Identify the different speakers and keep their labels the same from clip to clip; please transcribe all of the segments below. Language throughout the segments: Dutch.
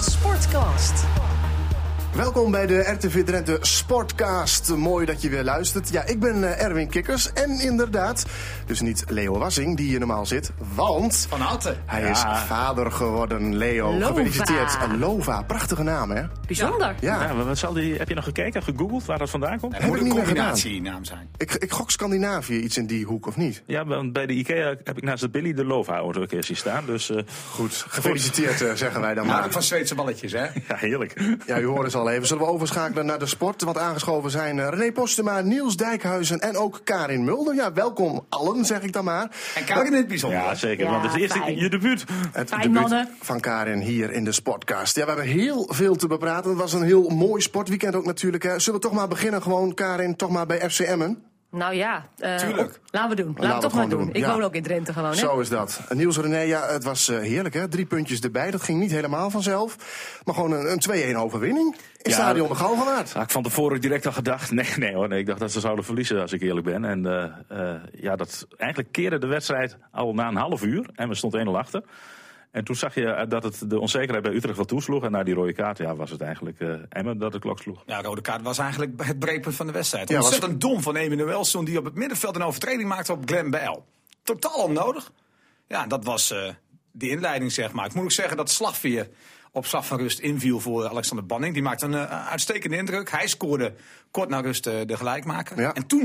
Speaker 1: Sportcast.
Speaker 2: Welkom bij de RTV Drenthe Sportcast. Mooi dat je weer luistert. Ja, ik ben eh, Erwin Kikkers en inderdaad, dus niet Leo Wassing die hier normaal zit, want
Speaker 3: Van harte.
Speaker 2: hij is vader geworden, Leo.
Speaker 1: Lova.
Speaker 2: Gefeliciteerd. Eh, Lova, prachtige naam hè?
Speaker 1: Bijzonder.
Speaker 2: Ja,
Speaker 4: Ja, wat zal die, heb je nog gekeken, gegoogeld waar dat vandaan komt?
Speaker 3: Het moet
Speaker 2: ik
Speaker 3: een
Speaker 2: niet meer
Speaker 3: combinatie naam zijn.
Speaker 2: ik, ik gok Scandinavië, iets in die hoek of niet?
Speaker 4: Ja, want bij de IKEA heb ik naast de Billy de Lova-auto een keer zien staan. Dus eh,
Speaker 2: Goed, gefeliciteerd eh, zeggen wij dan
Speaker 3: Maar
Speaker 2: maar.
Speaker 3: van Zweedse balletjes, hè?
Speaker 4: ja, heerlijk.
Speaker 2: Ja, u hoort het al even. Zullen we overschakelen naar de sport? Want aangeschoven zijn eh, René Postema, Niels Dijkhuizen en ook Karin Mulder. Ja, welkom allen, zeg ik dan maar.
Speaker 3: En Karin in het bijzonder.
Speaker 4: Ja, zeker.
Speaker 1: Ja,
Speaker 4: want het is eerst
Speaker 1: fijn.
Speaker 4: je debuut.
Speaker 2: Het
Speaker 1: Fijn,
Speaker 2: debuut
Speaker 1: mannen.
Speaker 2: van Karin hier in de Sportcast. Ja, we hebben heel veel te bepraten. Het was een heel mooi sportweekend ook natuurlijk. Hè. Zullen we toch maar beginnen gewoon, Karin, toch maar bij FCM'en?
Speaker 1: Nou ja, eh,
Speaker 3: Tuurlijk.
Speaker 1: laten we doen. Laten we
Speaker 2: Laten
Speaker 1: het
Speaker 2: we
Speaker 1: toch maar
Speaker 2: gewoon
Speaker 1: doen.
Speaker 2: doen,
Speaker 1: Ik
Speaker 2: ja.
Speaker 1: woon ook in Drenthe gewoon, hè?
Speaker 2: Zo is dat. Niels René, ja, het was eh, heerlijk hè. Drie puntjes erbij, dat ging niet helemaal vanzelf. Maar gewoon een, een 2-1 overwinning. In
Speaker 4: Ja.
Speaker 2: stadion de Galgenwaard.
Speaker 4: Had ik van tevoren ook direct al gedacht. Nee, nee hoor. Nee, ik dacht dat ze zouden verliezen, als ik eerlijk ben. En eh, eh, ja, dat, eigenlijk keerde de wedstrijd al na een half uur. En we stonden 1-0 achter. En toen zag je eh, dat het de onzekerheid bij Utrecht wel toesloeg. En na die rode kaart ja, was het eigenlijk eh Emmen dat de klok sloeg.
Speaker 3: Ja, rode kaart was eigenlijk het breekpunt van de wedstrijd.
Speaker 2: Ja, was-
Speaker 3: Ontzettend dom van Emanuelson die op het middenveld een overtreding maakte op Glenn Bell. Totaal onnodig. Ja, dat was eh, de inleiding, zeg maar. Ik moet ook zeggen dat Slagveer op slag van rust inviel voor Alexander Banning. Die maakte een eh, uitstekende indruk. Hij scoorde kort na rust eh, de gelijkmaker.
Speaker 2: Ja.
Speaker 3: En toen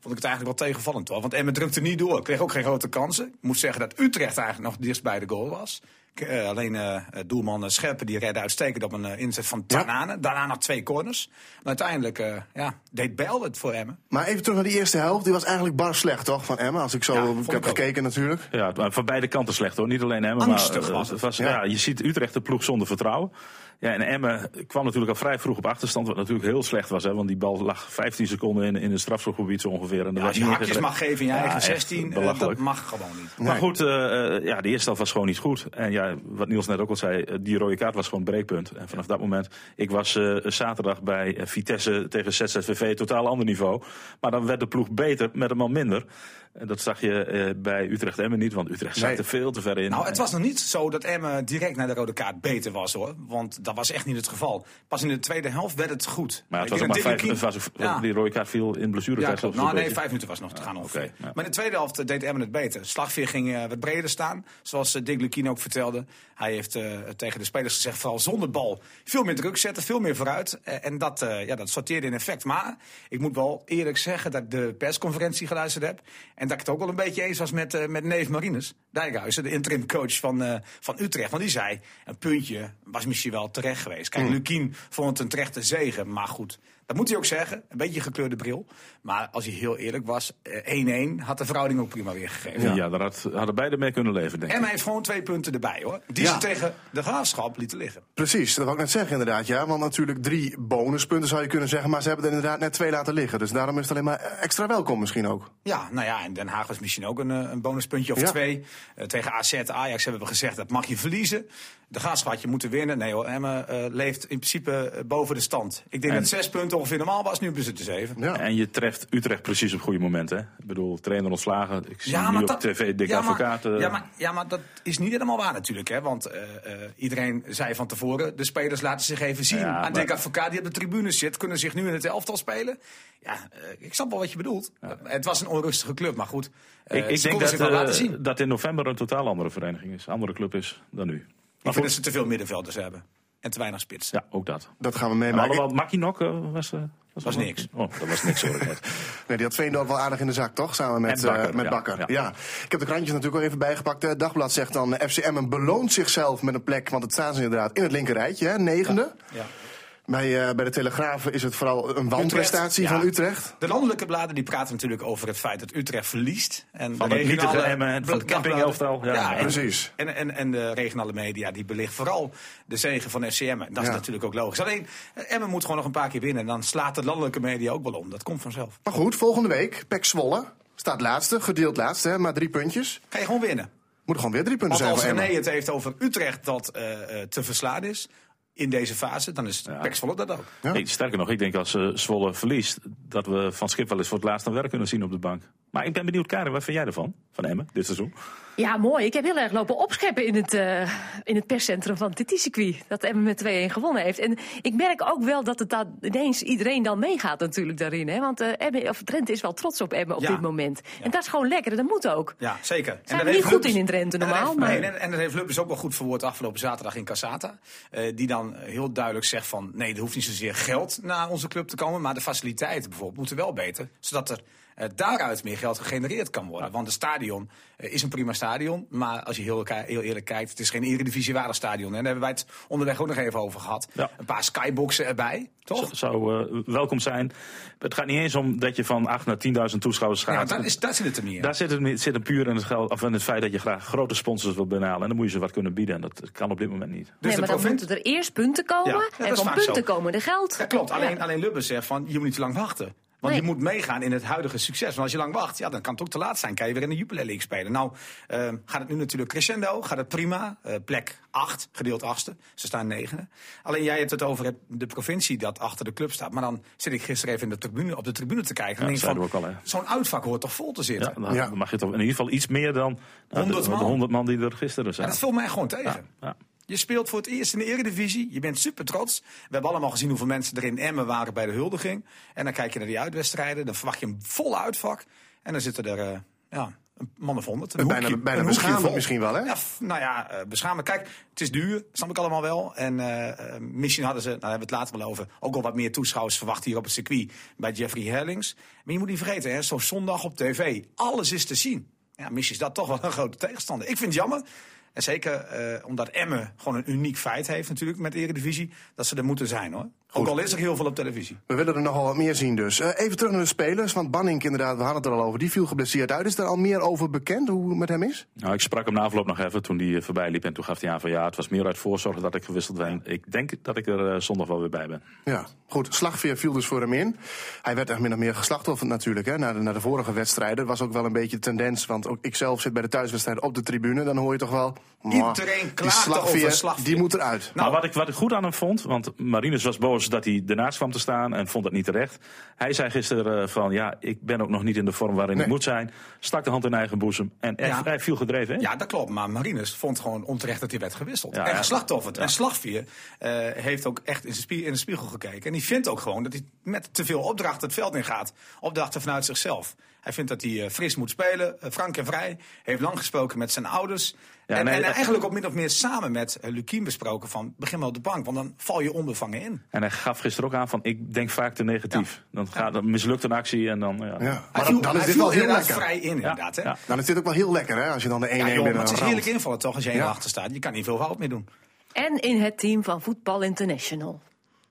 Speaker 3: vond ik het eigenlijk wel tegenvallend. Hoor. Want Emmen drukte niet door. Kreeg ook geen grote kansen. Ik moet zeggen dat Utrecht eigenlijk nog dichtst bij de goal was. K- eh, alleen eh, doelman eh, Scherpen die redde uitstekend op een eh, inzet van
Speaker 2: Ja.
Speaker 3: Tanane. Daarna nog twee corners. Maar uiteindelijk eh, ja, deed Bijl het voor Emmen.
Speaker 2: Maar even terug naar die eerste helft. Die was eigenlijk bar slecht, toch? Van Emma, als ik zo
Speaker 3: Ja, vond
Speaker 2: heb
Speaker 3: ik ook.
Speaker 2: gekeken natuurlijk.
Speaker 4: Ja, maar van beide kanten slecht hoor. Niet alleen Emmen,
Speaker 3: Angstig
Speaker 4: maar eh,
Speaker 3: was het.
Speaker 4: ja. je ziet Utrecht de ploeg zonder vertrouwen. Ja, en Emmen kwam natuurlijk al vrij vroeg op achterstand, wat natuurlijk heel slecht was. Hè, want die bal lag 15 seconden in, in het strafschopgebied zo ongeveer. En er
Speaker 3: Ja,
Speaker 4: was
Speaker 3: als je
Speaker 4: niet
Speaker 3: hakjes
Speaker 4: echt-
Speaker 3: mag geven in je
Speaker 4: Ja,
Speaker 3: eigen
Speaker 4: echt
Speaker 3: 16, eh, dat
Speaker 4: belachelijk.
Speaker 3: mag gewoon niet.
Speaker 2: Nee.
Speaker 4: Maar goed, eh, eh, ja, de eerste helft was gewoon niet goed. En ja, wat Niels net ook al zei, eh, die rode kaart was gewoon het breekpunt. En vanaf dat moment, ik was eh, zaterdag bij eh, Vitesse tegen ZZVV, totaal ander niveau. Maar dan werd de ploeg beter met een man minder. En dat zag je eh, bij Utrecht Emmen niet, want Utrecht zat
Speaker 2: Nee.
Speaker 4: er veel te ver in.
Speaker 3: Nou, het was nog niet zo dat Emmen direct na de rode kaart beter was hoor. Want dat was echt niet het geval. Pas in de tweede helft werd het goed.
Speaker 4: Maar het
Speaker 3: Ik
Speaker 4: was ook maar
Speaker 3: denk
Speaker 4: vijf,
Speaker 3: dat Timmy
Speaker 4: het was
Speaker 3: Kien-
Speaker 4: ook- die rode kaart viel in blessure.
Speaker 3: Ja, klopt. Nou, nee, vijf minuten was nog te gaan ongeveer.
Speaker 4: oké, ja.
Speaker 3: Maar in de tweede helft eh, deed Emmen het beter. Slagveer ging eh, wat breder staan. Zoals eh, Dick Lukien ook vertelde. Hij heeft eh, tegen de spelers gezegd, vooral zonder bal. Veel meer druk zetten, veel meer vooruit. Eh, en dat, eh, ja, dat sorteerde in effect. Maar ik moet wel eerlijk zeggen dat ik de persconferentie geluisterd heb. En dat ik het ook wel een beetje eens was met, eh, met neef Marinus Dijkhuizen. De interim coach van, eh, van Utrecht. Want die zei, een puntje was misschien wel terecht geweest. Kijk, Lukien vond het een terechte zegen. Maar goed, dat moet hij ook zeggen. Een beetje gekleurde bril. Maar als hij heel eerlijk was, eh, 1-1 had de verhouding ook prima weergegeven.
Speaker 4: Ja, daar had, hadden beide mee kunnen leven, denk ik.
Speaker 3: En hij heeft gewoon twee punten erbij hoor. Die
Speaker 2: Ja.
Speaker 3: ze tegen de graafschap lieten liggen.
Speaker 2: Precies, dat wou ik net zeggen inderdaad. Ja, want natuurlijk drie bonuspunten zou je kunnen zeggen. Maar ze hebben er inderdaad net twee laten liggen. Dus daarom is het alleen maar extra welkom misschien ook.
Speaker 3: Ja, nou ja, en Den Haag was misschien ook een, eh, een bonuspuntje of
Speaker 2: Ja.
Speaker 3: twee. Eh, tegen AZ, Ajax hebben we gezegd, dat mag je verliezen. De graafschap had je moeten winnen. Nee hoor, Emmen eh, leeft in principe eh, boven de stand. Ik denk
Speaker 4: En-
Speaker 3: dat zes punten ongeveer normaal was, nu hebben ze het zeven.
Speaker 2: Ja.
Speaker 4: En je treft Utrecht precies op goede momenten. hè. Ik bedoel, trainer ontslagen. Ik zie nu op
Speaker 3: dat-
Speaker 4: tv dik
Speaker 3: ja, maar-
Speaker 4: advocaat. eh,
Speaker 3: ja, maar, ja, maar dat is niet helemaal waar natuurlijk. Hè? Want eh, eh, iedereen zei van tevoren, de spelers laten zich even zien.
Speaker 4: Ja,
Speaker 3: aan
Speaker 4: maar-
Speaker 3: Dick Advocaat die op de tribune zit, kunnen zich nu in het elftal spelen. Ja, eh, ik snap wel wat je bedoelt. Het was een onrustige club, maar goed. eh,
Speaker 4: ik ik
Speaker 3: ze
Speaker 4: denk
Speaker 3: konden
Speaker 4: dat,
Speaker 3: zich wel
Speaker 4: eh,
Speaker 3: laten zien. Ik
Speaker 4: dat in november een totaal andere vereniging is. Andere club is dan nu. Maar
Speaker 3: vind
Speaker 4: goed,
Speaker 3: dat ze te veel middenvelders hebben. En te weinig spits.
Speaker 4: ja, ook dat.
Speaker 2: Dat gaan we
Speaker 4: En
Speaker 2: meemaken.
Speaker 4: alhoewel, Makinok eh, was... eh,
Speaker 3: Was
Speaker 4: wel-
Speaker 3: niks.
Speaker 4: Oh, dat was niks, sorry.
Speaker 2: Nee, die had Veendorp wel aardig in de zak, toch? Samen met
Speaker 4: En Bakker,
Speaker 2: eh, met
Speaker 4: ja,
Speaker 2: Bakker. Ja,
Speaker 4: ja.
Speaker 2: Ik heb de krantjes natuurlijk al even bijgepakt. Het dagblad zegt dan, eh, FCM beloont zichzelf met een plek. Want het staan ze inderdaad in het linkerrijtje, hè, negende.
Speaker 3: Ja.
Speaker 2: Bij, eh, bij de Telegraaf is het vooral een wanprestatie
Speaker 3: Utrecht,
Speaker 2: van
Speaker 3: ja.
Speaker 2: Utrecht.
Speaker 3: De landelijke bladen die praten natuurlijk over het feit dat Utrecht verliest. En
Speaker 4: Van
Speaker 3: de
Speaker 4: het nietige
Speaker 3: regionale
Speaker 4: Emmen en van het
Speaker 3: dagbladen-
Speaker 4: campingelftal. Ja,
Speaker 3: Ja, en-
Speaker 2: precies.
Speaker 3: En, en, en de regionale media die belicht vooral de zegen van FCM. En Dat
Speaker 2: Ja.
Speaker 3: is natuurlijk ook logisch. Alleen eh, Emmen moet gewoon nog een paar keer winnen. En dan slaat de landelijke media ook wel om. Dat komt vanzelf.
Speaker 2: Maar goed, volgende week, Pek Zwolle. Staat laatste, gedeeld laatste, hè, maar drie puntjes.
Speaker 3: Ga je gewoon winnen.
Speaker 2: Moet gewoon weer drie punten
Speaker 3: Want
Speaker 2: zijn
Speaker 3: als
Speaker 2: voor Emma.
Speaker 3: René het heeft over Utrecht dat eh, eh, te verslaan is in deze fase, dan is het ja. dat ook.
Speaker 2: Ja.
Speaker 4: Nee, sterker nog, ik denk als eh, Zwolle verliest... dat we Van Schip wel eens voor het laatst aan werk kunnen zien op de bank. Maar ik ben benieuwd, Karin, wat vind jij ervan? Van Emmen, dit seizoen?
Speaker 1: Ja, mooi. Ik heb heel erg lopen opscheppen in het, eh, in het perscentrum van TT Circuit. Dat Emmen met 2-1 gewonnen heeft. En ik merk ook wel dat het dan ineens iedereen dan meegaat natuurlijk daarin. Hè? Want eh Emmen, of Drenthe is wel trots op Emmen op
Speaker 3: Ja.
Speaker 1: dit moment. En dat is gewoon lekker. en Dat moet ook.
Speaker 3: Ja, zeker.
Speaker 1: Zijn
Speaker 3: dat
Speaker 1: we niet
Speaker 3: heeft
Speaker 1: goed
Speaker 3: Lubbers-
Speaker 1: in in
Speaker 3: en
Speaker 1: Drenthe
Speaker 3: dat
Speaker 1: normaal,
Speaker 3: heeft-
Speaker 1: maar-
Speaker 3: nee, en, en dat heeft Lubbers ook wel goed verwoord afgelopen zaterdag in Cassata. Eh, die dan heel duidelijk zegt van... nee, er hoeft niet zozeer geld naar onze club te komen... maar de faciliteiten bijvoorbeeld moeten wel beter. Zodat er eh, daaruit meer geld gegenereerd kan worden. Want het stadion eh, is een prima stadion. Maar als je heel, elka- heel eerlijk kijkt... het is geen eredivisiewaardig stadion. En daar hebben wij het onderweg ook nog even over gehad.
Speaker 4: Ja.
Speaker 3: Een paar skyboxen erbij, toch?
Speaker 4: Z- zou eh, welkom zijn. Het gaat niet eens om dat je van 8 naar 10.000 toeschouwers
Speaker 3: Ja,
Speaker 4: gaat.
Speaker 3: dat, is, dat zit het er niet in.
Speaker 4: Daar zit het, zit het puur in het, geld, of in het feit dat je graag grote sponsors wil binnenhalen. En dan moet je ze wat kunnen bieden. En dat kan op dit moment niet.
Speaker 3: Dus
Speaker 1: nee,
Speaker 3: de
Speaker 1: maar dan
Speaker 3: provin-
Speaker 1: moeten er eerst punten komen.
Speaker 3: Ja, ja, dat
Speaker 1: en
Speaker 3: is
Speaker 1: van
Speaker 3: vaak
Speaker 1: punten
Speaker 3: zo.
Speaker 1: komen er geld.
Speaker 3: Ja, klopt. Alleen,
Speaker 1: Ja.
Speaker 3: alleen Lubbers zegt van, je moet niet te lang wachten. Want
Speaker 1: Nee.
Speaker 3: je moet meegaan in het huidige succes. Want als je lang wacht, ja, dan kan het ook te laat zijn. Kan je weer in de Jupiler League spelen. Nou, ehm, gaat het nu natuurlijk crescendo. Gaat het prima. Eh, plek 8, gedeeld achtste. Ze staan negende. Alleen jij hebt het over het, de provincie dat achter de club staat. Maar dan zit ik gisteren even in de tribune, op de tribune te kijken. en denk ik
Speaker 4: dat zeiden
Speaker 3: van,
Speaker 4: we ook al, hè.
Speaker 3: Zo'n uitvak hoort toch vol te zitten.
Speaker 4: Ja,
Speaker 3: Ja,
Speaker 4: dan
Speaker 2: Ja.
Speaker 4: mag je toch in ieder geval iets meer dan nou, de-
Speaker 3: 100
Speaker 4: de,
Speaker 3: man.
Speaker 4: 100 man die er gisteren zijn.
Speaker 3: dat viel mij gewoon tegen.
Speaker 4: Ja.
Speaker 3: Je speelt voor het eerst in de Eredivisie. Je bent super trots. We hebben allemaal gezien hoeveel mensen er in Emmen waren bij de huldiging. En dan kijk je naar die uitwedstrijden. Dan verwacht je een volle uitvak. En dan zitten er eh, ja, een man of honderd. Een
Speaker 2: Bijna-
Speaker 3: hoekje-
Speaker 2: bijna
Speaker 3: een hoekje
Speaker 2: beschamend
Speaker 3: vol.
Speaker 2: misschien wel, hè?
Speaker 3: Ja, f- nou ja, eh, beschamend. Kijk, het is duur. Snap ik allemaal wel. En eh, eh, misschien hadden ze, nou, daar hebben we het later wel over... ook al wat meer toeschouwers verwacht hier op het circuit bij Jeffrey Hellings. Maar je moet niet vergeten, hè, zo'n zondag op tv. Alles is te zien. Ja, misschien is dat toch wel een grote tegenstander. Ik vind het jammer. En zeker eh, omdat Emmen gewoon een uniek feit heeft natuurlijk met de Eredivisie... dat ze er moeten zijn, hoor. Ook al is er heel veel op televisie.
Speaker 2: We willen er nogal wat meer zien dus. Eh, even terug naar de spelers, want Banning inderdaad, we hadden het er al over. Die viel geblesseerd uit. Is er al meer over bekend hoe het met hem is?
Speaker 4: Nou, ik sprak hem na afloop nog even toen die eh, voorbij liep. En toen gaf hij aan van ja, het was meer uit voorzorg dat ik gewisseld ben. Ik denk dat ik er eh, zondag wel weer bij ben.
Speaker 2: Ja, goed. Slagveer viel dus voor hem in. Hij werd echt min of meer geslachtofferd natuurlijk. Hè, na, de, na de vorige wedstrijden was ook wel een beetje de tendens. Want ook ik zelf zit bij de thuiswedstrijd op de tribune. Dan hoor je toch wel... "Mwah,
Speaker 3: Iedereen
Speaker 2: die
Speaker 3: klaagt over Slagveer."
Speaker 2: Die moet eruit.
Speaker 3: Nou.
Speaker 4: maar wat ik, wat ik goed aan hem vond, want Marinus was boos dat hij ernaast kwam te staan en vond het niet terecht. Hij zei gisteren eh, van ja, ik ben ook nog niet in de vorm waarin
Speaker 2: Nee.
Speaker 4: ik moet zijn. Stak de hand in eigen boezem en echt,
Speaker 3: Ja.
Speaker 4: hij viel gedreven in.
Speaker 3: Ja, dat klopt. Maar Marinus vond gewoon onterecht dat hij werd gewisseld.
Speaker 4: Ja,
Speaker 3: en
Speaker 4: ja.
Speaker 3: geslachtofferd. En Slagvier eh, heeft ook echt in, zijn spie- in de spiegel gekeken. En die vindt ook gewoon dat hij met te veel opdrachten het veld ingaat. Opdrachten vanuit zichzelf. Hij vindt dat hij eh, fris moet spelen, eh, frank en vrij. Heeft lang gesproken met zijn ouders.
Speaker 4: Ja,
Speaker 3: en,
Speaker 4: nee,
Speaker 3: en
Speaker 4: dat-
Speaker 3: eigenlijk ook min of meer samen met eh, Lukien besproken van... begin maar op de bank, want dan val je onbevangen in.
Speaker 4: En hij gaf gisteren ook aan van ik denk vaak te negatief. Dan gaat dan mislukt een actie en dan ja.
Speaker 2: Ja.
Speaker 3: Hij
Speaker 2: Maar
Speaker 3: viel,
Speaker 2: dan, dan is
Speaker 3: hij
Speaker 2: dit
Speaker 3: viel
Speaker 2: wel heel
Speaker 3: inderdaad
Speaker 2: lekker.
Speaker 3: vrij in, inderdaad. Hè?
Speaker 4: Ja.
Speaker 2: Dan is dit ook wel heel lekker, hè? Als je dan de 1-1
Speaker 3: Ja, joh,
Speaker 2: binnen
Speaker 3: maar het is
Speaker 2: ramt.
Speaker 3: heerlijk invallen toch als je helemaal
Speaker 2: Ja.
Speaker 3: achter staat. Je kan niet veel fout meer doen.
Speaker 1: En in het team van Voetbal International.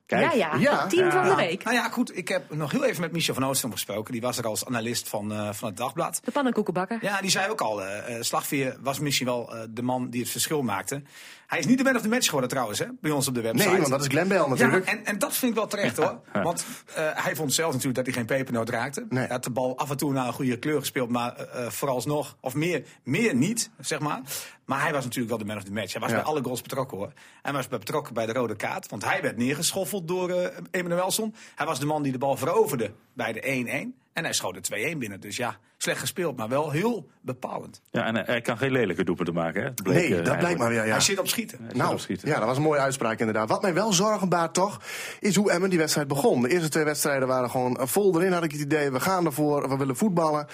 Speaker 4: Kijk.
Speaker 1: ja, ja,
Speaker 2: Ja.
Speaker 1: het team van de week.
Speaker 3: Nou ja, goed, ik heb nog heel even met Michel van Oostrom gesproken. Die was er als analist van, eh, van het Dagblad.
Speaker 1: De pannenkoekenbakker.
Speaker 3: Ja, die zei ook al, eh, eh, Slagveer was misschien wel eh, de man die het verschil maakte. Hij is niet de man of the match geworden trouwens, hè, bij ons op de website.
Speaker 2: Nee, want dat is Glenn Bell natuurlijk.
Speaker 3: Ja, en, en dat vind ik wel terecht hoor. Want eh, hij vond zelf natuurlijk dat hij geen pepernoot raakte.
Speaker 2: Nee.
Speaker 3: Hij had de bal af en toe naar een goede kleur gespeeld, maar eh, eh, vooralsnog, of meer, meer niet, zeg maar. Maar hij was natuurlijk wel de man of the match. Hij was
Speaker 2: Ja.
Speaker 3: bij alle goals betrokken hoor. Hij was bij betrokken bij de rode kaart, want hij werd neergeschoffeld door eh Emanuelson. Hij was de man die de bal veroverde bij de 1-1. En hij schoot de 2-1 binnen. Dus ja, slecht gespeeld, maar wel heel bepalend.
Speaker 4: Ja, en hij- hij kan geen lelijke doelpunten maken. Hè? Bleek, eh,
Speaker 2: Nee, dat blijkt
Speaker 4: eigenlijk.
Speaker 2: maar weer, ja.
Speaker 3: Hij zit op schieten.
Speaker 4: Zit
Speaker 2: Nou,
Speaker 4: op schieten.
Speaker 2: ja, dat was een mooie uitspraak inderdaad. Wat mij wel zorgen baart toch, is hoe Emmen die wedstrijd begon. De eerste twee wedstrijden waren gewoon eh, vol erin, had ik het idee. We gaan ervoor, we willen voetballen.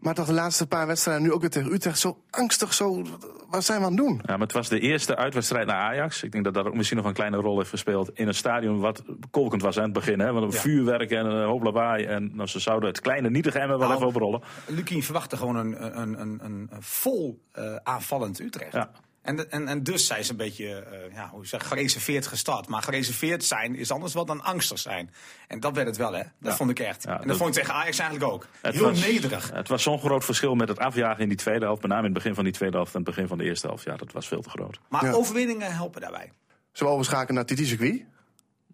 Speaker 2: Maar toch de laatste paar wedstrijden, nu ook weer tegen Utrecht, zo angstig, zo... Wat zijn we aan het doen?
Speaker 4: Ja, maar het was de eerste uitwedstrijd naar Ajax. Ik denk dat dat ook misschien nog een kleine rol heeft gespeeld. In een stadion wat kolkend was aan het begin. Hè? Want een
Speaker 3: Ja.
Speaker 4: vuurwerk en een hoop lawaai. En nou, ze zouden het kleine nietige emmer wel
Speaker 3: Nou,
Speaker 4: even oprollen.
Speaker 3: Lukien verwachtte gewoon een, een, een, een, een vol eh, aanvallend Utrecht.
Speaker 4: Ja.
Speaker 3: En, en, en dus zijn ze een beetje eh, ja, hoe zeg, gereserveerd gestart. Maar gereserveerd zijn is anders wat dan angstig zijn. En dat werd het wel, hè? Dat vond ik echt.
Speaker 4: Ja,
Speaker 3: en dat,
Speaker 4: dat-
Speaker 3: vond ik tegen Ajax eigenlijk ook.
Speaker 4: Het
Speaker 3: Heel
Speaker 4: was,
Speaker 3: nederig.
Speaker 4: Het was zo'n groot verschil met het afjagen in die tweede helft. Met name in het begin van die tweede helft en het begin van de eerste helft. Ja, dat was veel te groot.
Speaker 3: Maar
Speaker 2: Ja.
Speaker 3: overwinningen helpen daarbij.
Speaker 2: Zullen we overschakelen naar Titi Circuit?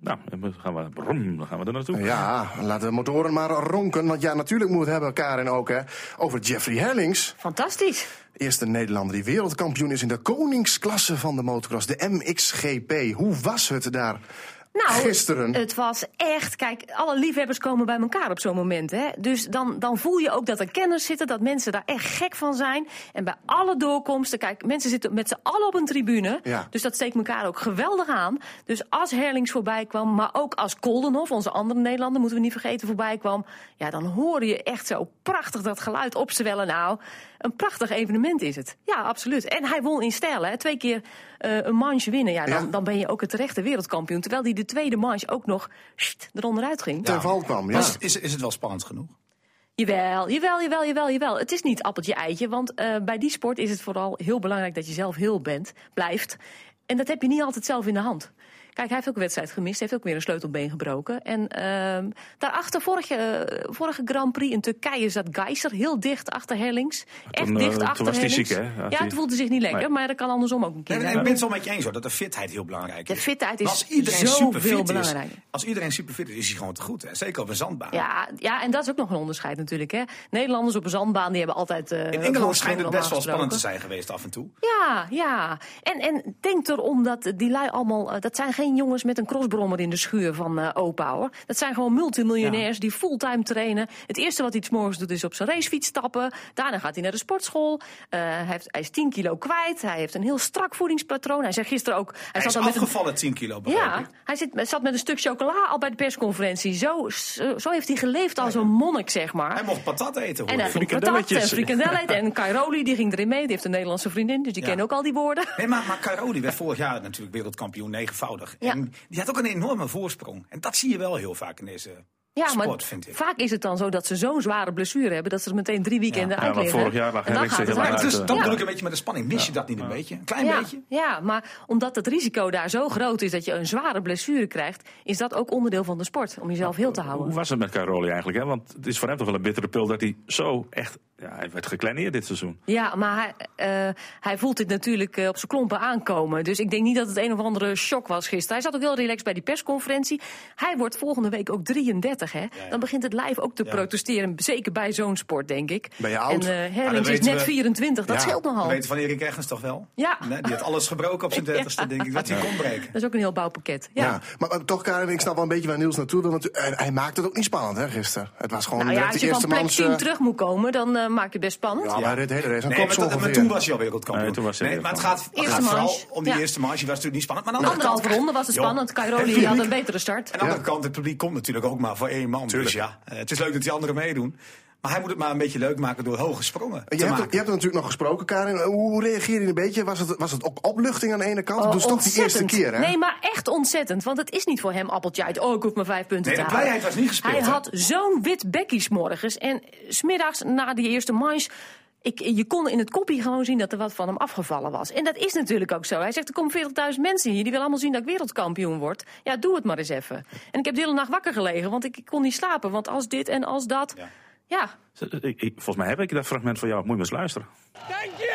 Speaker 4: Nou, en we gaan we, brom, dan gaan we er naartoe.
Speaker 2: Ja, laat de motoren maar ronken. Want ja, natuurlijk moet we het hebben, Karin ook, hè, over Jeffrey Hellings.
Speaker 1: Fantastisch.
Speaker 2: Eerste Nederlander die wereldkampioen is in de koningsklasse van de motocross, de MXGP. Hoe was het daar
Speaker 1: Nou,
Speaker 2: Gisteren.
Speaker 1: Het was echt, kijk, alle liefhebbers komen bij elkaar op zo'n moment. Hè? Dus dan, dan voel je ook dat er kenners zitten, dat mensen daar echt gek van zijn. En bij alle doorkomsten, kijk, mensen zitten met z'n allen op een tribune.
Speaker 2: Ja.
Speaker 1: Dus dat steekt elkaar ook geweldig aan. Dus als Herlings voorbij kwam, maar ook als Koldenhof, onze andere Nederlander, moeten we niet vergeten, voorbij kwam. Ja, dan hoor je echt zo prachtig dat geluid opzwellen. Nou, een prachtig evenement is het. Ja, absoluut. En hij won in stijl, hè? Twee keer eh, een manche winnen. Ja, dan,
Speaker 2: Ja.
Speaker 1: dan ben je ook het terechte wereldkampioen. Terwijl hij de tweede manche ook nog sst, eronderuit ging.
Speaker 2: Ten val kwam, ja.
Speaker 3: Is, is, is het wel spannend genoeg?
Speaker 1: Jawel, jawel, jawel, jawel, jawel. Het is niet appeltje eitje, want eh, bij die sport is het vooral heel belangrijk dat je zelf heel bent, blijft. En dat heb je niet altijd zelf in de hand. Kijk, hij heeft ook een wedstrijd gemist, heeft ook weer een sleutelbeen gebroken. En ehm, daarachter, vorige, eh, vorige Grand Prix in Turkije zat Geiser heel dicht achter Herlings. Echt
Speaker 4: Toen, eh,
Speaker 1: dicht
Speaker 4: toen
Speaker 1: achter
Speaker 4: was hij
Speaker 1: Herlings.
Speaker 4: ziek, hè? Had
Speaker 1: Ja,
Speaker 4: hij-
Speaker 1: het voelde zich niet lekker,
Speaker 4: Nee.
Speaker 1: maar dat kan andersom ook een keer.
Speaker 3: Nee, nee,
Speaker 1: hè?
Speaker 3: ik ben het wel met je eens hoor, dat de fitheid heel belangrijk
Speaker 1: De
Speaker 3: is.
Speaker 1: fitheid
Speaker 3: Maar
Speaker 1: is
Speaker 3: als iedereen
Speaker 1: zoveel
Speaker 3: superfit
Speaker 1: belangrijk.
Speaker 3: Is, als iedereen superfit is, is hij gewoon te goed. Hè? Zeker op een zandbaan.
Speaker 1: Ja, ja, en dat is ook nog een onderscheid natuurlijk. Hè. Nederlanders op een zandbaan die hebben altijd. eh,
Speaker 3: In Engeland
Speaker 1: voorsprong
Speaker 3: schijnt het
Speaker 1: normaal
Speaker 3: best wel spannend te
Speaker 1: gesproken.
Speaker 3: zijn geweest af en toe.
Speaker 1: Ja, ja. En, en denk erom dat die lui allemaal. eh, dat zijn geen jongens met een crossbrommer in de schuur van eh opa hoor. Dat zijn gewoon multimiljonairs die fulltime trainen. Het eerste wat hij 's morgens doet is op zijn racefiets stappen. Daarna gaat hij naar de sportschool. Eh, hij, heeft, hij is 10 kilo kwijt. Hij heeft een heel strak voedingspatroon. Hij zei gisteren ook. Hij,
Speaker 3: Hij
Speaker 1: zat
Speaker 3: is
Speaker 1: dan met een
Speaker 3: afgevallen 10 kilo begreep
Speaker 1: ja,
Speaker 3: ik.
Speaker 1: hij zit, zat met een stuk chocola al bij de persconferentie. Zo, zo, zo heeft hij geleefd als een monnik, zeg maar.
Speaker 3: Hij mocht patat eten.
Speaker 1: En
Speaker 3: hoor
Speaker 1: hij
Speaker 3: ik.
Speaker 1: vond patat en
Speaker 4: Frikandelletjes.
Speaker 1: frikandellen. En Cairoli, die ging erin mee. Die heeft een Nederlandse vriendin, dus die
Speaker 3: Ja.
Speaker 1: kennen ook al die woorden.
Speaker 3: Nee, maar, maar Caro die werd vorig jaar natuurlijk wereldkampioen negenvoudig.
Speaker 1: Ja.
Speaker 3: En die had ook een enorme voorsprong. En dat zie je wel heel vaak in deze
Speaker 1: Ja,
Speaker 3: sport,
Speaker 1: maar
Speaker 3: vind ik.
Speaker 1: vaak is het dan zo dat ze zo'n zware blessure hebben... dat ze er meteen drie weekenden
Speaker 4: Ja,
Speaker 1: uit
Speaker 4: maar
Speaker 1: liggen.
Speaker 4: vorig jaar lag
Speaker 1: En dan
Speaker 4: Hendricks
Speaker 1: gaat
Speaker 4: er
Speaker 1: het
Speaker 4: helemaal
Speaker 1: hard.
Speaker 4: uit.
Speaker 3: Dus dat
Speaker 1: Ja.
Speaker 3: bedoel ik een beetje met de spanning. Mis je dat niet een beetje? Een klein
Speaker 1: ja,
Speaker 3: beetje?
Speaker 1: ja, maar omdat het risico daar zo groot is dat je een zware blessure krijgt... is dat ook onderdeel van de sport, om jezelf heel te houden.
Speaker 4: Hoe was het met Caroli eigenlijk? Hè? Want het is voor hem toch wel een bittere pil dat hij zo echt... Ja, hij werd gekleineerd dit seizoen.
Speaker 1: Ja, maar hij, eh, hij voelt dit natuurlijk eh, op zijn klompen aankomen. Dus ik denk niet dat het een of andere shock was gisteren. Hij zat ook heel relaxed bij die persconferentie. Hij wordt volgende week ook 33, hè? Dan begint het lijf ook te protesteren. Zeker bij zo'n sport, denk ik.
Speaker 2: Ben je oud?
Speaker 1: En eh
Speaker 3: Ja, dan
Speaker 1: Herlings is
Speaker 3: weten
Speaker 1: net
Speaker 3: we-
Speaker 1: 24, dat
Speaker 2: Ja,
Speaker 1: scheelt
Speaker 3: We
Speaker 1: nogal.
Speaker 3: weten van Erik Eggens toch wel?
Speaker 1: Ja.
Speaker 3: Nee, die had alles gebroken op zijn dertigste, denk ik. Dat hij kon breken.
Speaker 1: Dat is ook een heel bouwpakket.
Speaker 2: Ja.
Speaker 1: Ja.
Speaker 2: Maar, maar toch, Karin, ik snap wel een beetje waar Niels naartoe wil. Want hij, hij maakte het ook niet spannend, hè, gisteren. Het was gewoon
Speaker 1: Nou ja,
Speaker 2: direct
Speaker 1: als
Speaker 2: de
Speaker 1: je van
Speaker 2: eerste
Speaker 1: plek 10
Speaker 2: manse-
Speaker 1: terug moet komen, dan eh, maak je het best spannend.
Speaker 2: Ja, maar dit hele race aan
Speaker 3: Nee,
Speaker 2: kop
Speaker 3: maar,
Speaker 2: zo
Speaker 3: dat- maar
Speaker 2: ongeveer.
Speaker 3: toen was je al wereldkampioen.
Speaker 4: Nee, toen was hij
Speaker 3: nee, maar het
Speaker 4: wereldkampioen.
Speaker 3: gaat, het
Speaker 1: Eerste
Speaker 3: gaat vooral om
Speaker 1: manche.
Speaker 3: die
Speaker 1: Ja. Nou,
Speaker 3: eerste marge. Die was natuurlijk niet spannend. Maar aan de andere
Speaker 1: Anderhalve
Speaker 3: kant-
Speaker 1: ronde was het
Speaker 3: Joh,
Speaker 1: spannend.
Speaker 3: het
Speaker 1: Cairoli had een betere start.
Speaker 3: Aan de andere kant, het publiek komt natuurlijk ook maar voor één man. Dus ja, eh, het is leuk dat die anderen meedoen. Maar hij moet het maar een beetje leuk maken door hoge sprongen
Speaker 2: Je
Speaker 3: te
Speaker 2: hebt,
Speaker 3: maken.
Speaker 2: je hebt er natuurlijk nog gesproken, Karin. Hoe hoe reageer je een beetje? Was het, was het ook opluchting aan de ene kant?
Speaker 1: Oh,
Speaker 2: dus toch die eerste
Speaker 1: ontzettend.
Speaker 2: keer, hè?
Speaker 1: Nee, maar echt ontzettend. Want het is niet voor hem appeltje uit. Oh, ik hoef maar vijf punten
Speaker 3: Nee, de
Speaker 1: te halen.
Speaker 3: blijheid was niet gespeeld,
Speaker 1: Hij
Speaker 3: hè?
Speaker 1: had zo'n wit bekkie 's morgens. En smiddags na die eerste manche... Ik, je kon in het kopje gewoon zien dat er wat van hem afgevallen was. En dat is natuurlijk ook zo. Hij zegt, er komen 40.000 mensen hier. Die willen allemaal zien dat ik wereldkampioen word. Ja, doe het maar eens even. En ik heb de hele nacht wakker gelegen, want ik, ik kon niet slapen. Want als dit en als dat...
Speaker 3: Ja.
Speaker 1: ja
Speaker 4: Ik- ik- volgens mij heb ik dat fragment van jou. Moet je maar eens luisteren.
Speaker 5: Thank you!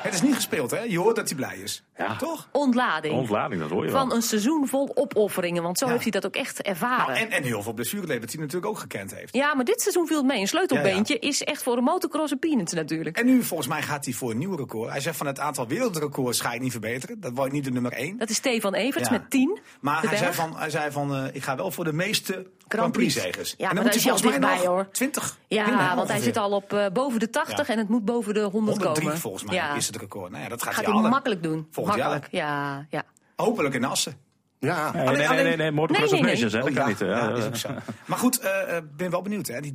Speaker 3: Het is niet gespeeld, hè? Je hoort dat hij blij is. Toch?
Speaker 1: ontlading.
Speaker 4: Ontlading, dat hoor je wel.
Speaker 1: Van een seizoen vol opofferingen. Want zo heeft hij dat ook echt ervaren.
Speaker 3: Nou, en, en heel veel blessureleven dat hij natuurlijk ook gekend heeft.
Speaker 1: Ja, maar dit seizoen viel het mee. Een sleutelbeentje
Speaker 3: Ja,
Speaker 1: is echt voor een motocross een peanuts natuurlijk.
Speaker 3: En nu volgens mij gaat hij voor een nieuw record. Hij zegt van het aantal wereldrecords ga ik niet verbeteren. Dat wordt niet de nummer één.
Speaker 1: Dat is Stefan Everts
Speaker 3: Ja.
Speaker 1: met 10.
Speaker 3: Maar
Speaker 1: de
Speaker 3: hij zei
Speaker 1: Belg.
Speaker 3: van, hij zei van eh, ik ga wel voor de meeste Grand
Speaker 1: Grand Prix.
Speaker 3: Prix-zegers.
Speaker 1: Ja, maar daar is hij al dichtbij, hoor.
Speaker 3: 20
Speaker 1: Ja,
Speaker 3: winnen,
Speaker 1: want hij
Speaker 3: ongeveer.
Speaker 1: zit al op eh, boven de 80
Speaker 3: Ja.
Speaker 1: en het moet boven de 100
Speaker 3: 103
Speaker 1: komen.
Speaker 3: volgens mij
Speaker 1: Ja.
Speaker 3: is het record. Nou ja, dat gaat,
Speaker 1: Gaat
Speaker 3: hij
Speaker 1: hij
Speaker 3: halen.
Speaker 1: makkelijk doen.
Speaker 3: Volgend jaar.
Speaker 1: makkelijk, ja. ja.
Speaker 3: Hopelijk in Assen.
Speaker 2: Ja.
Speaker 4: Nee, nee, nee, nee, nee, Motocross
Speaker 1: Nee,
Speaker 4: of
Speaker 1: nee,
Speaker 4: Nations, hè?
Speaker 3: Oh,
Speaker 4: Dat
Speaker 3: ja,
Speaker 4: kan niet. hè.
Speaker 3: ja,
Speaker 4: Ja,
Speaker 3: is
Speaker 4: ja.
Speaker 3: ook zo. Maar goed, eh, ik ben wel benieuwd. Hè? Die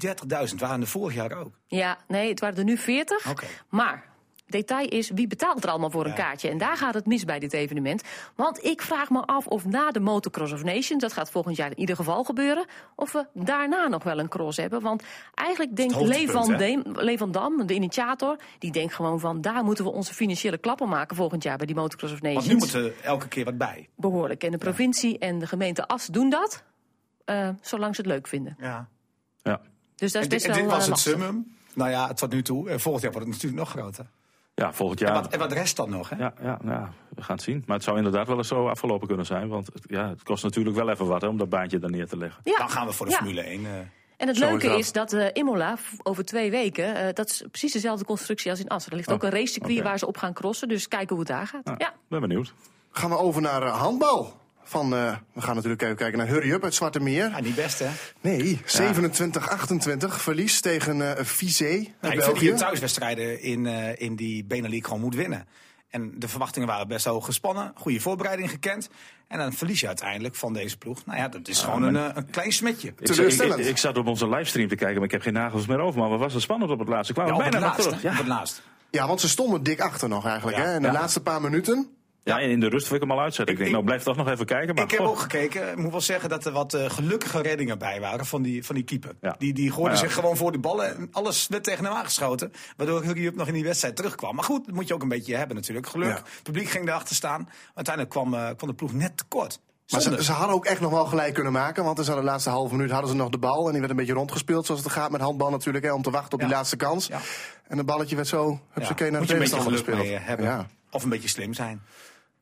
Speaker 3: 30.000 waren er vorig jaar ook.
Speaker 1: Ja, nee, het waren er nu 40.
Speaker 3: Oké.
Speaker 1: Maar detail is, wie betaalt er allemaal voor een
Speaker 3: Ja.
Speaker 1: kaartje? En daar gaat het mis bij dit evenement. Want ik vraag me af of na de Motocross of Nations, dat gaat volgend jaar in ieder geval gebeuren, of we daarna nog wel een cross hebben. Want eigenlijk denkt
Speaker 3: hoogtepunt,
Speaker 1: Lee van,
Speaker 3: hè?
Speaker 1: Deem, Lee van Dam, de initiator, die denkt gewoon van daar moeten we onze financiële klappen maken volgend jaar bij die Motocross of Nations
Speaker 3: Want nu moet er elke keer wat bij.
Speaker 1: behoorlijk. En de provincie en de gemeente As doen dat, eh, zolang ze het leuk vinden.
Speaker 3: Ja.
Speaker 4: Ja.
Speaker 1: Dus dat is
Speaker 3: En dit,
Speaker 1: best
Speaker 3: en dit
Speaker 1: wel
Speaker 3: was
Speaker 1: eh,
Speaker 3: het
Speaker 1: lastig.
Speaker 3: summum. Nou ja, tot nu toe. En volgend jaar wordt het natuurlijk nog groter.
Speaker 4: Ja, volgend
Speaker 3: En,
Speaker 4: jaar.
Speaker 3: wat, en wat rest dan nog? Hè?
Speaker 4: Ja, ja, ja, we gaan het zien. Maar het zou inderdaad wel eens zo afgelopen kunnen zijn. Want het, ja, het kost natuurlijk wel even wat hè, om dat baantje daar neer te leggen.
Speaker 1: Ja.
Speaker 3: Dan gaan we voor de
Speaker 1: Ja.
Speaker 3: Formule 1. eh.
Speaker 1: En het
Speaker 2: Zo is
Speaker 1: leuke
Speaker 2: dat.
Speaker 1: is dat eh, Imola v- over twee weken, eh, dat is precies dezelfde constructie als in Assen. Er ligt
Speaker 4: Oh,
Speaker 1: ook een racecircuit
Speaker 4: oké.
Speaker 1: waar ze op gaan crossen, dus kijken hoe het daar gaat.
Speaker 4: Nou,
Speaker 1: Ja,
Speaker 4: Ben benieuwd.
Speaker 2: Gaan we over naar eh, handbal. Van, eh, we gaan natuurlijk even kijken naar Hurry Up uit Zwarte Meer.
Speaker 3: Ja, niet best, hè?
Speaker 2: Nee, 27-28 verlies tegen eh Vizé
Speaker 3: Ja,
Speaker 2: uit
Speaker 3: ik vind dat je
Speaker 2: België.
Speaker 3: thuiswedstrijden in, eh, in die Benelux gewoon moet winnen. En de verwachtingen waren best hoog gespannen. Goede voorbereiding gekend. En dan verlies je uiteindelijk van deze ploeg. Nou ja, dat is gewoon een, eh, een klein smetje.
Speaker 4: Ik, zat- ik,
Speaker 2: Teleurstellend.
Speaker 4: ik, ik zat op onze livestream te kijken, maar ik heb geen nagels meer over. Maar wat was het spannend op het laatste? Ik kwam
Speaker 3: Ja, op het
Speaker 4: bijna nog
Speaker 3: laatst,
Speaker 4: terug.
Speaker 3: hè, op
Speaker 4: Ja.
Speaker 3: het laatst.
Speaker 2: Ja, want ze stonden dik achter nog eigenlijk.
Speaker 3: Ja,
Speaker 2: hè? In de
Speaker 4: ja.
Speaker 2: laatste paar minuten.
Speaker 4: Ja, en in de rust wil ik hem al uitzetten. Ik, denk,
Speaker 3: ik-
Speaker 4: nou blijf toch nog even kijken. Maar
Speaker 3: Ik heb
Speaker 4: goh.
Speaker 3: ook gekeken. Ik moet wel zeggen dat er wat eh, gelukkige reddingen bij waren van die, van die keeper.
Speaker 4: Ja.
Speaker 3: Die, die gooide
Speaker 4: Maar ja.
Speaker 3: zich gewoon voor de ballen. En alles werd tegen hem aangeschoten. Waardoor Hurry Up nog in die wedstrijd terugkwam. Maar goed, dat moet je ook een beetje hebben natuurlijk. Geluk.
Speaker 2: Ja.
Speaker 3: Het publiek ging erachter staan. Uiteindelijk kwam, eh, kwam de ploeg net tekort.
Speaker 2: Maar
Speaker 3: Zonde.
Speaker 2: ze, ze hadden ook echt nog wel gelijk kunnen maken. Want in de laatste halve minuut hadden ze nog de bal. En die werd een beetje rondgespeeld. Zoals het gaat met handbal natuurlijk. Hè, om te wachten op die
Speaker 3: Ja.
Speaker 2: laatste kans.
Speaker 3: Ja.
Speaker 2: En het balletje werd zo. Heb
Speaker 3: Ja,
Speaker 2: ze naar de
Speaker 3: moet je een beetje
Speaker 2: tegenstander
Speaker 3: geluk
Speaker 2: gespeeld.
Speaker 3: mee eh, hebben.
Speaker 2: Ja,
Speaker 3: Of een beetje slim zijn.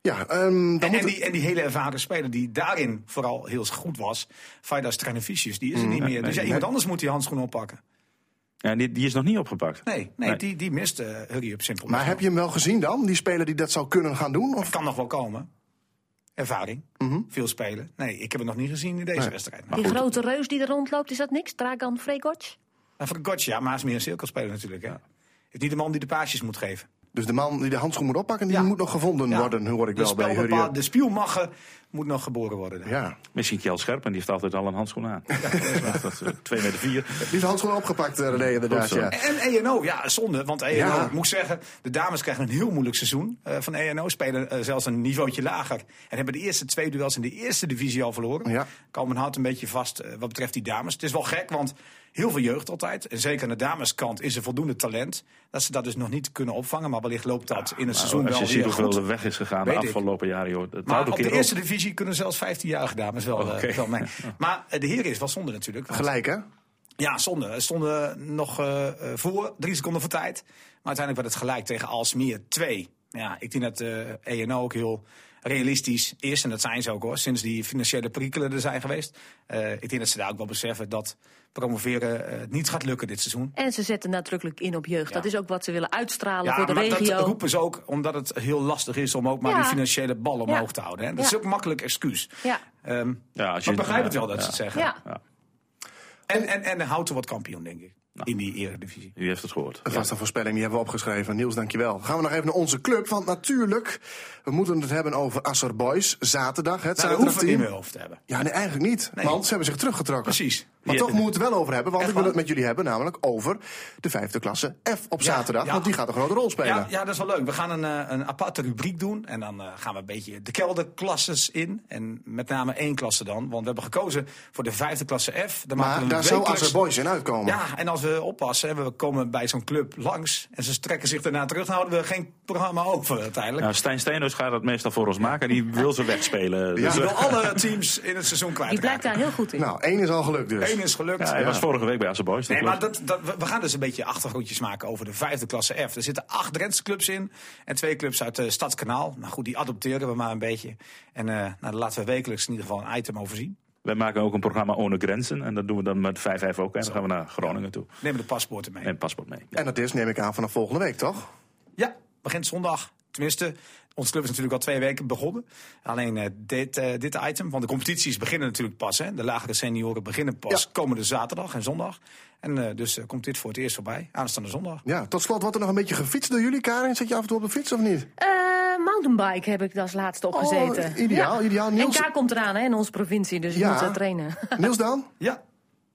Speaker 2: ja ehm, dan
Speaker 3: En,
Speaker 2: moet
Speaker 3: en, die, en die hele ervaren speler die daarin vooral heel goed was, Faidas Traneficius, die is
Speaker 2: Mm.
Speaker 3: er niet meer. dus ja, iemand anders moet die handschoen oppakken.
Speaker 4: Ja, die, die is nog niet opgepakt.
Speaker 3: Nee, nee,
Speaker 4: Nee.
Speaker 3: Die, die mist eh, Hurry Up simpel.
Speaker 2: Maar heb je hem wel gezien dan? Die speler die dat zou kunnen gaan doen? Of?
Speaker 3: Het kan nog wel komen. Ervaring,
Speaker 2: Mhm.
Speaker 3: veel spelen. Nee, ik heb het nog niet gezien in deze wedstrijd. Maar
Speaker 1: die grote reus die er rondloopt, is dat niks? Dragan Fregoc?
Speaker 3: maar voor Gotcha, ja, maar hij is meer een cirkelspeler natuurlijk. Hè. Het is niet de man die de paasjes moet geven.
Speaker 2: Dus de man die de handschoen moet oppakken, die
Speaker 3: Ja.
Speaker 2: moet nog gevonden
Speaker 3: Ja.
Speaker 2: worden, hoor ik
Speaker 3: de
Speaker 2: wel bij Hurry
Speaker 3: spelbepaal-
Speaker 2: Up.
Speaker 3: De spielmacher moet nog geboren worden. denk ik.
Speaker 2: Ja,
Speaker 4: Misschien Kjell Scherpen, die heeft altijd al een handschoen aan. Dat is, eh, Twee meter vier.
Speaker 2: die heeft de handschoen opgepakt, eh, René, inderdaad.
Speaker 4: Goed zo.
Speaker 2: Ja.
Speaker 3: En ENO, ja, zonde. Want ENO,
Speaker 2: Ja.
Speaker 3: ik moet zeggen, de dames krijgen een heel moeilijk seizoen eh, van ENO. Spelen eh, zelfs een niveautje lager. En hebben de eerste twee duels in de eerste divisie al verloren.
Speaker 2: Ja.
Speaker 3: Komen houdt een beetje vast eh, wat betreft die dames. Het is wel gek, want heel veel jeugd altijd. En zeker aan de dameskant is er voldoende talent. Dat ze dat dus nog niet kunnen opvangen. Maar wellicht loopt dat in het seizoen
Speaker 4: Nou, Als
Speaker 3: wel
Speaker 4: je ziet
Speaker 3: weer
Speaker 4: hoeveel
Speaker 3: goed.
Speaker 4: er weg is gegaan
Speaker 3: Weet
Speaker 4: de
Speaker 3: ik.
Speaker 4: afgelopen jaren, joh. Het
Speaker 3: Maar
Speaker 4: houdt ook
Speaker 3: op de
Speaker 4: hier
Speaker 3: eerste
Speaker 4: op.
Speaker 3: divisie kunnen zelfs 15-jarige dames wel, eh,
Speaker 4: Oké.
Speaker 3: wel mee. Maar eh, de heren is wel zonde natuurlijk. want-
Speaker 2: Gelijk, hè?
Speaker 3: ja, zonde. Er stonden nog eh, eh, voor, drie seconden voor tijd. Maar uiteindelijk werd het gelijk tegen Alsmeer 2. Ja, ik denk dat eh, de ENO ook heel realistisch is. En dat zijn ze ook hoor, sinds die financiële perikelen er zijn geweest. Eh, ik denk dat ze daar ook wel beseffen dat promoveren eh, niet gaat lukken dit seizoen.
Speaker 1: En ze zetten nadrukkelijk in op jeugd.
Speaker 3: Ja.
Speaker 1: Dat is ook wat ze willen uitstralen
Speaker 3: Ja,
Speaker 1: voor de
Speaker 3: maar
Speaker 1: regio.
Speaker 3: dat roepen ze ook omdat het heel lastig is om ook maar
Speaker 1: Ja.
Speaker 3: die financiële bal omhoog te houden. Hè. Dat is
Speaker 1: Ja.
Speaker 3: ook een makkelijk excuus.
Speaker 1: Ja.
Speaker 3: Ehm,
Speaker 4: Ja, als je- eh,
Speaker 3: maar ik begrijp het wel dat
Speaker 4: ja.
Speaker 3: ze het zeggen.
Speaker 1: Ja.
Speaker 4: Ja,
Speaker 3: En, en, en houdt er wat kampioen, denk ik, in die eredivisie.
Speaker 4: u heeft het gehoord.
Speaker 2: Dat was de voorspelling, die hebben we opgeschreven. Niels, dankjewel. Gaan we nog even naar onze club, want natuurlijk, we moeten het hebben over Asser Boys. Zaterdag, het
Speaker 3: Nou, daar hoeven we het
Speaker 2: zaterdagteam.
Speaker 3: niet meer over te hebben.
Speaker 2: Ja, nee, eigenlijk niet.
Speaker 3: Nee.
Speaker 2: Want ze hebben zich teruggetrokken.
Speaker 3: Precies.
Speaker 2: Maar
Speaker 4: Ja.
Speaker 2: toch moeten we het wel over hebben, want
Speaker 3: Echt
Speaker 2: ik wil
Speaker 3: waar?
Speaker 2: het met jullie hebben, namelijk over de vijfde klasse F op
Speaker 3: Ja,
Speaker 2: zaterdag.
Speaker 3: ja.
Speaker 2: Want die gaat een grote rol spelen.
Speaker 3: Ja, ja, dat is wel leuk. We gaan een, eh, een aparte rubriek doen. En dan eh, gaan we een beetje de kelderklasses in. En met name één klasse dan. Want we hebben gekozen voor de vijfde klasse F. Dan maken we
Speaker 2: Maar
Speaker 3: een
Speaker 2: daar zou
Speaker 3: wekelijks-
Speaker 2: Asser Boys in uitkomen.
Speaker 3: Ja, en als we oppassen, hè, we komen bij zo'n club langs. En ze trekken zich daarna terug. Dan houden we geen programma over uiteindelijk.
Speaker 4: Nou, Stijn Steenhuis gaat dat meestal voor ons maken. Die wil ze wegspelen.
Speaker 2: Ja.
Speaker 4: Dus,
Speaker 3: Je
Speaker 4: eh,
Speaker 3: wil alle teams in het seizoen kwijt.
Speaker 1: Die blijkt daar heel goed in.
Speaker 2: Nou, één is al gelukt dus.
Speaker 3: Eén is gelukt.
Speaker 4: ja, hij was vorige week bij Assen Boys. dat
Speaker 3: Nee, maar dat,
Speaker 4: klopt.
Speaker 3: dat, we we gaan dus een beetje achtergrondjes maken over de vijfde klasse F. Er zitten acht Drentse clubs in en twee clubs uit eh Stadskanaal. Nou goed, die adopteren we maar een beetje. En eh nou, daar laten we wekelijks in ieder geval een item over zien.
Speaker 4: Wij maken ook een programma Ohne Grenzen. En dat doen we dan met 5-5 ook. En dan gaan we naar Groningen toe.
Speaker 3: Nemen de paspoorten mee.
Speaker 4: En het paspoort mee.
Speaker 2: En dat is, neem ik aan, vanaf volgende week, toch?
Speaker 3: Ja, begint zondag. Tenminste, ons club is natuurlijk al twee weken begonnen. Alleen eh, dit, eh, dit item, want de competities beginnen natuurlijk pas. Hè. De lagere senioren beginnen pas
Speaker 2: Ja.
Speaker 3: komende zaterdag en zondag. En eh, dus eh, komt dit voor het eerst voorbij, aanstaande zondag.
Speaker 2: Ja, tot slot wordt er nog een beetje gefietst door jullie, Karin. Zit je af en toe op de fiets of niet?
Speaker 1: Eh, mountainbike heb ik als laatste opgezeten.
Speaker 2: Oh, ideaal, ideaal. Niels-
Speaker 1: NK komt eraan hè, in onze provincie, dus je
Speaker 2: Ja.
Speaker 1: moet eh, trainen.
Speaker 2: Niels dan?
Speaker 3: Ja,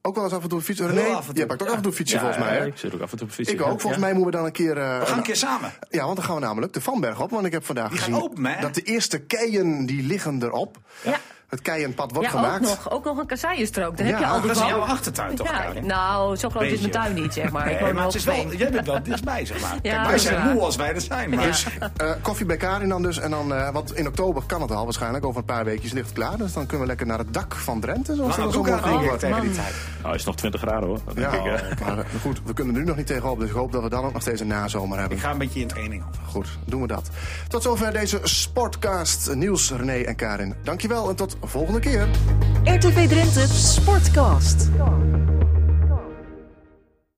Speaker 2: Ook wel eens af en toe fietsen.
Speaker 3: Heel
Speaker 2: René,
Speaker 3: af en toe,
Speaker 2: jij pakt ook
Speaker 3: ja.
Speaker 2: af en toe fietsen
Speaker 4: Ja,
Speaker 2: volgens mij.
Speaker 4: ja,
Speaker 2: Hè?
Speaker 4: Ik zit ook af en toe op fietsen.
Speaker 2: Ik ook.
Speaker 4: Ja.
Speaker 2: Volgens
Speaker 4: Ja.
Speaker 2: mij moeten we dan een keer. eh,
Speaker 3: we gaan een
Speaker 2: nou,
Speaker 3: keer samen.
Speaker 2: ja, want dan gaan we namelijk de Vanberg op. Want ik heb vandaag
Speaker 3: gaan
Speaker 2: gezien
Speaker 3: open, hè?
Speaker 2: dat de eerste keien die liggen erop.
Speaker 1: Ja.
Speaker 2: Het keienpad wordt
Speaker 1: ja,
Speaker 2: gemaakt.
Speaker 1: ook nog. Ook nog een kasseienstrook. Dan
Speaker 2: Ja,
Speaker 1: heb je al de
Speaker 3: Dat is in
Speaker 1: bal.
Speaker 3: jouw achtertuin toch,
Speaker 1: Ja,
Speaker 3: Karin?
Speaker 1: nou, zo groot is
Speaker 4: Beetje.
Speaker 1: mijn tuin niet, zeg maar. Ik
Speaker 3: Nee,
Speaker 1: woon
Speaker 3: maar
Speaker 1: wel
Speaker 3: het is wel,
Speaker 1: op
Speaker 3: jij bent wel dichtbij, zeg maar. Kijk,
Speaker 1: Ja,
Speaker 3: wij
Speaker 1: dat is
Speaker 3: zijn
Speaker 1: waar.
Speaker 3: moe als wij er zijn. Maar
Speaker 1: Dus-
Speaker 2: Eh, koffie bij Karin dan dus. En dan, eh, want in oktober kan het al waarschijnlijk. Over een paar weekjes ligt het klaar. Dus dan kunnen we lekker naar het dak van Drenthe. Zoals
Speaker 3: Lange
Speaker 2: dat zo
Speaker 3: broek
Speaker 2: mooi
Speaker 3: aan, denk ik,
Speaker 2: wordt.
Speaker 3: tegen die
Speaker 1: man.
Speaker 3: tijd.
Speaker 4: Nou, is nog 20 graden hoor. Dat
Speaker 2: Ja,
Speaker 4: denk ik, hè.
Speaker 2: maar eh, goed, we kunnen er nu nog niet tegenop. Dus ik hoop dat we dan ook nog steeds een nazomer hebben.
Speaker 3: Ik ga een beetje in training over.
Speaker 2: Goed, doen we dat. Tot zover deze Sportcast. Niels, René en Karin. Dankjewel en tot volgende keer.
Speaker 5: RTV Drenthe Sportcast.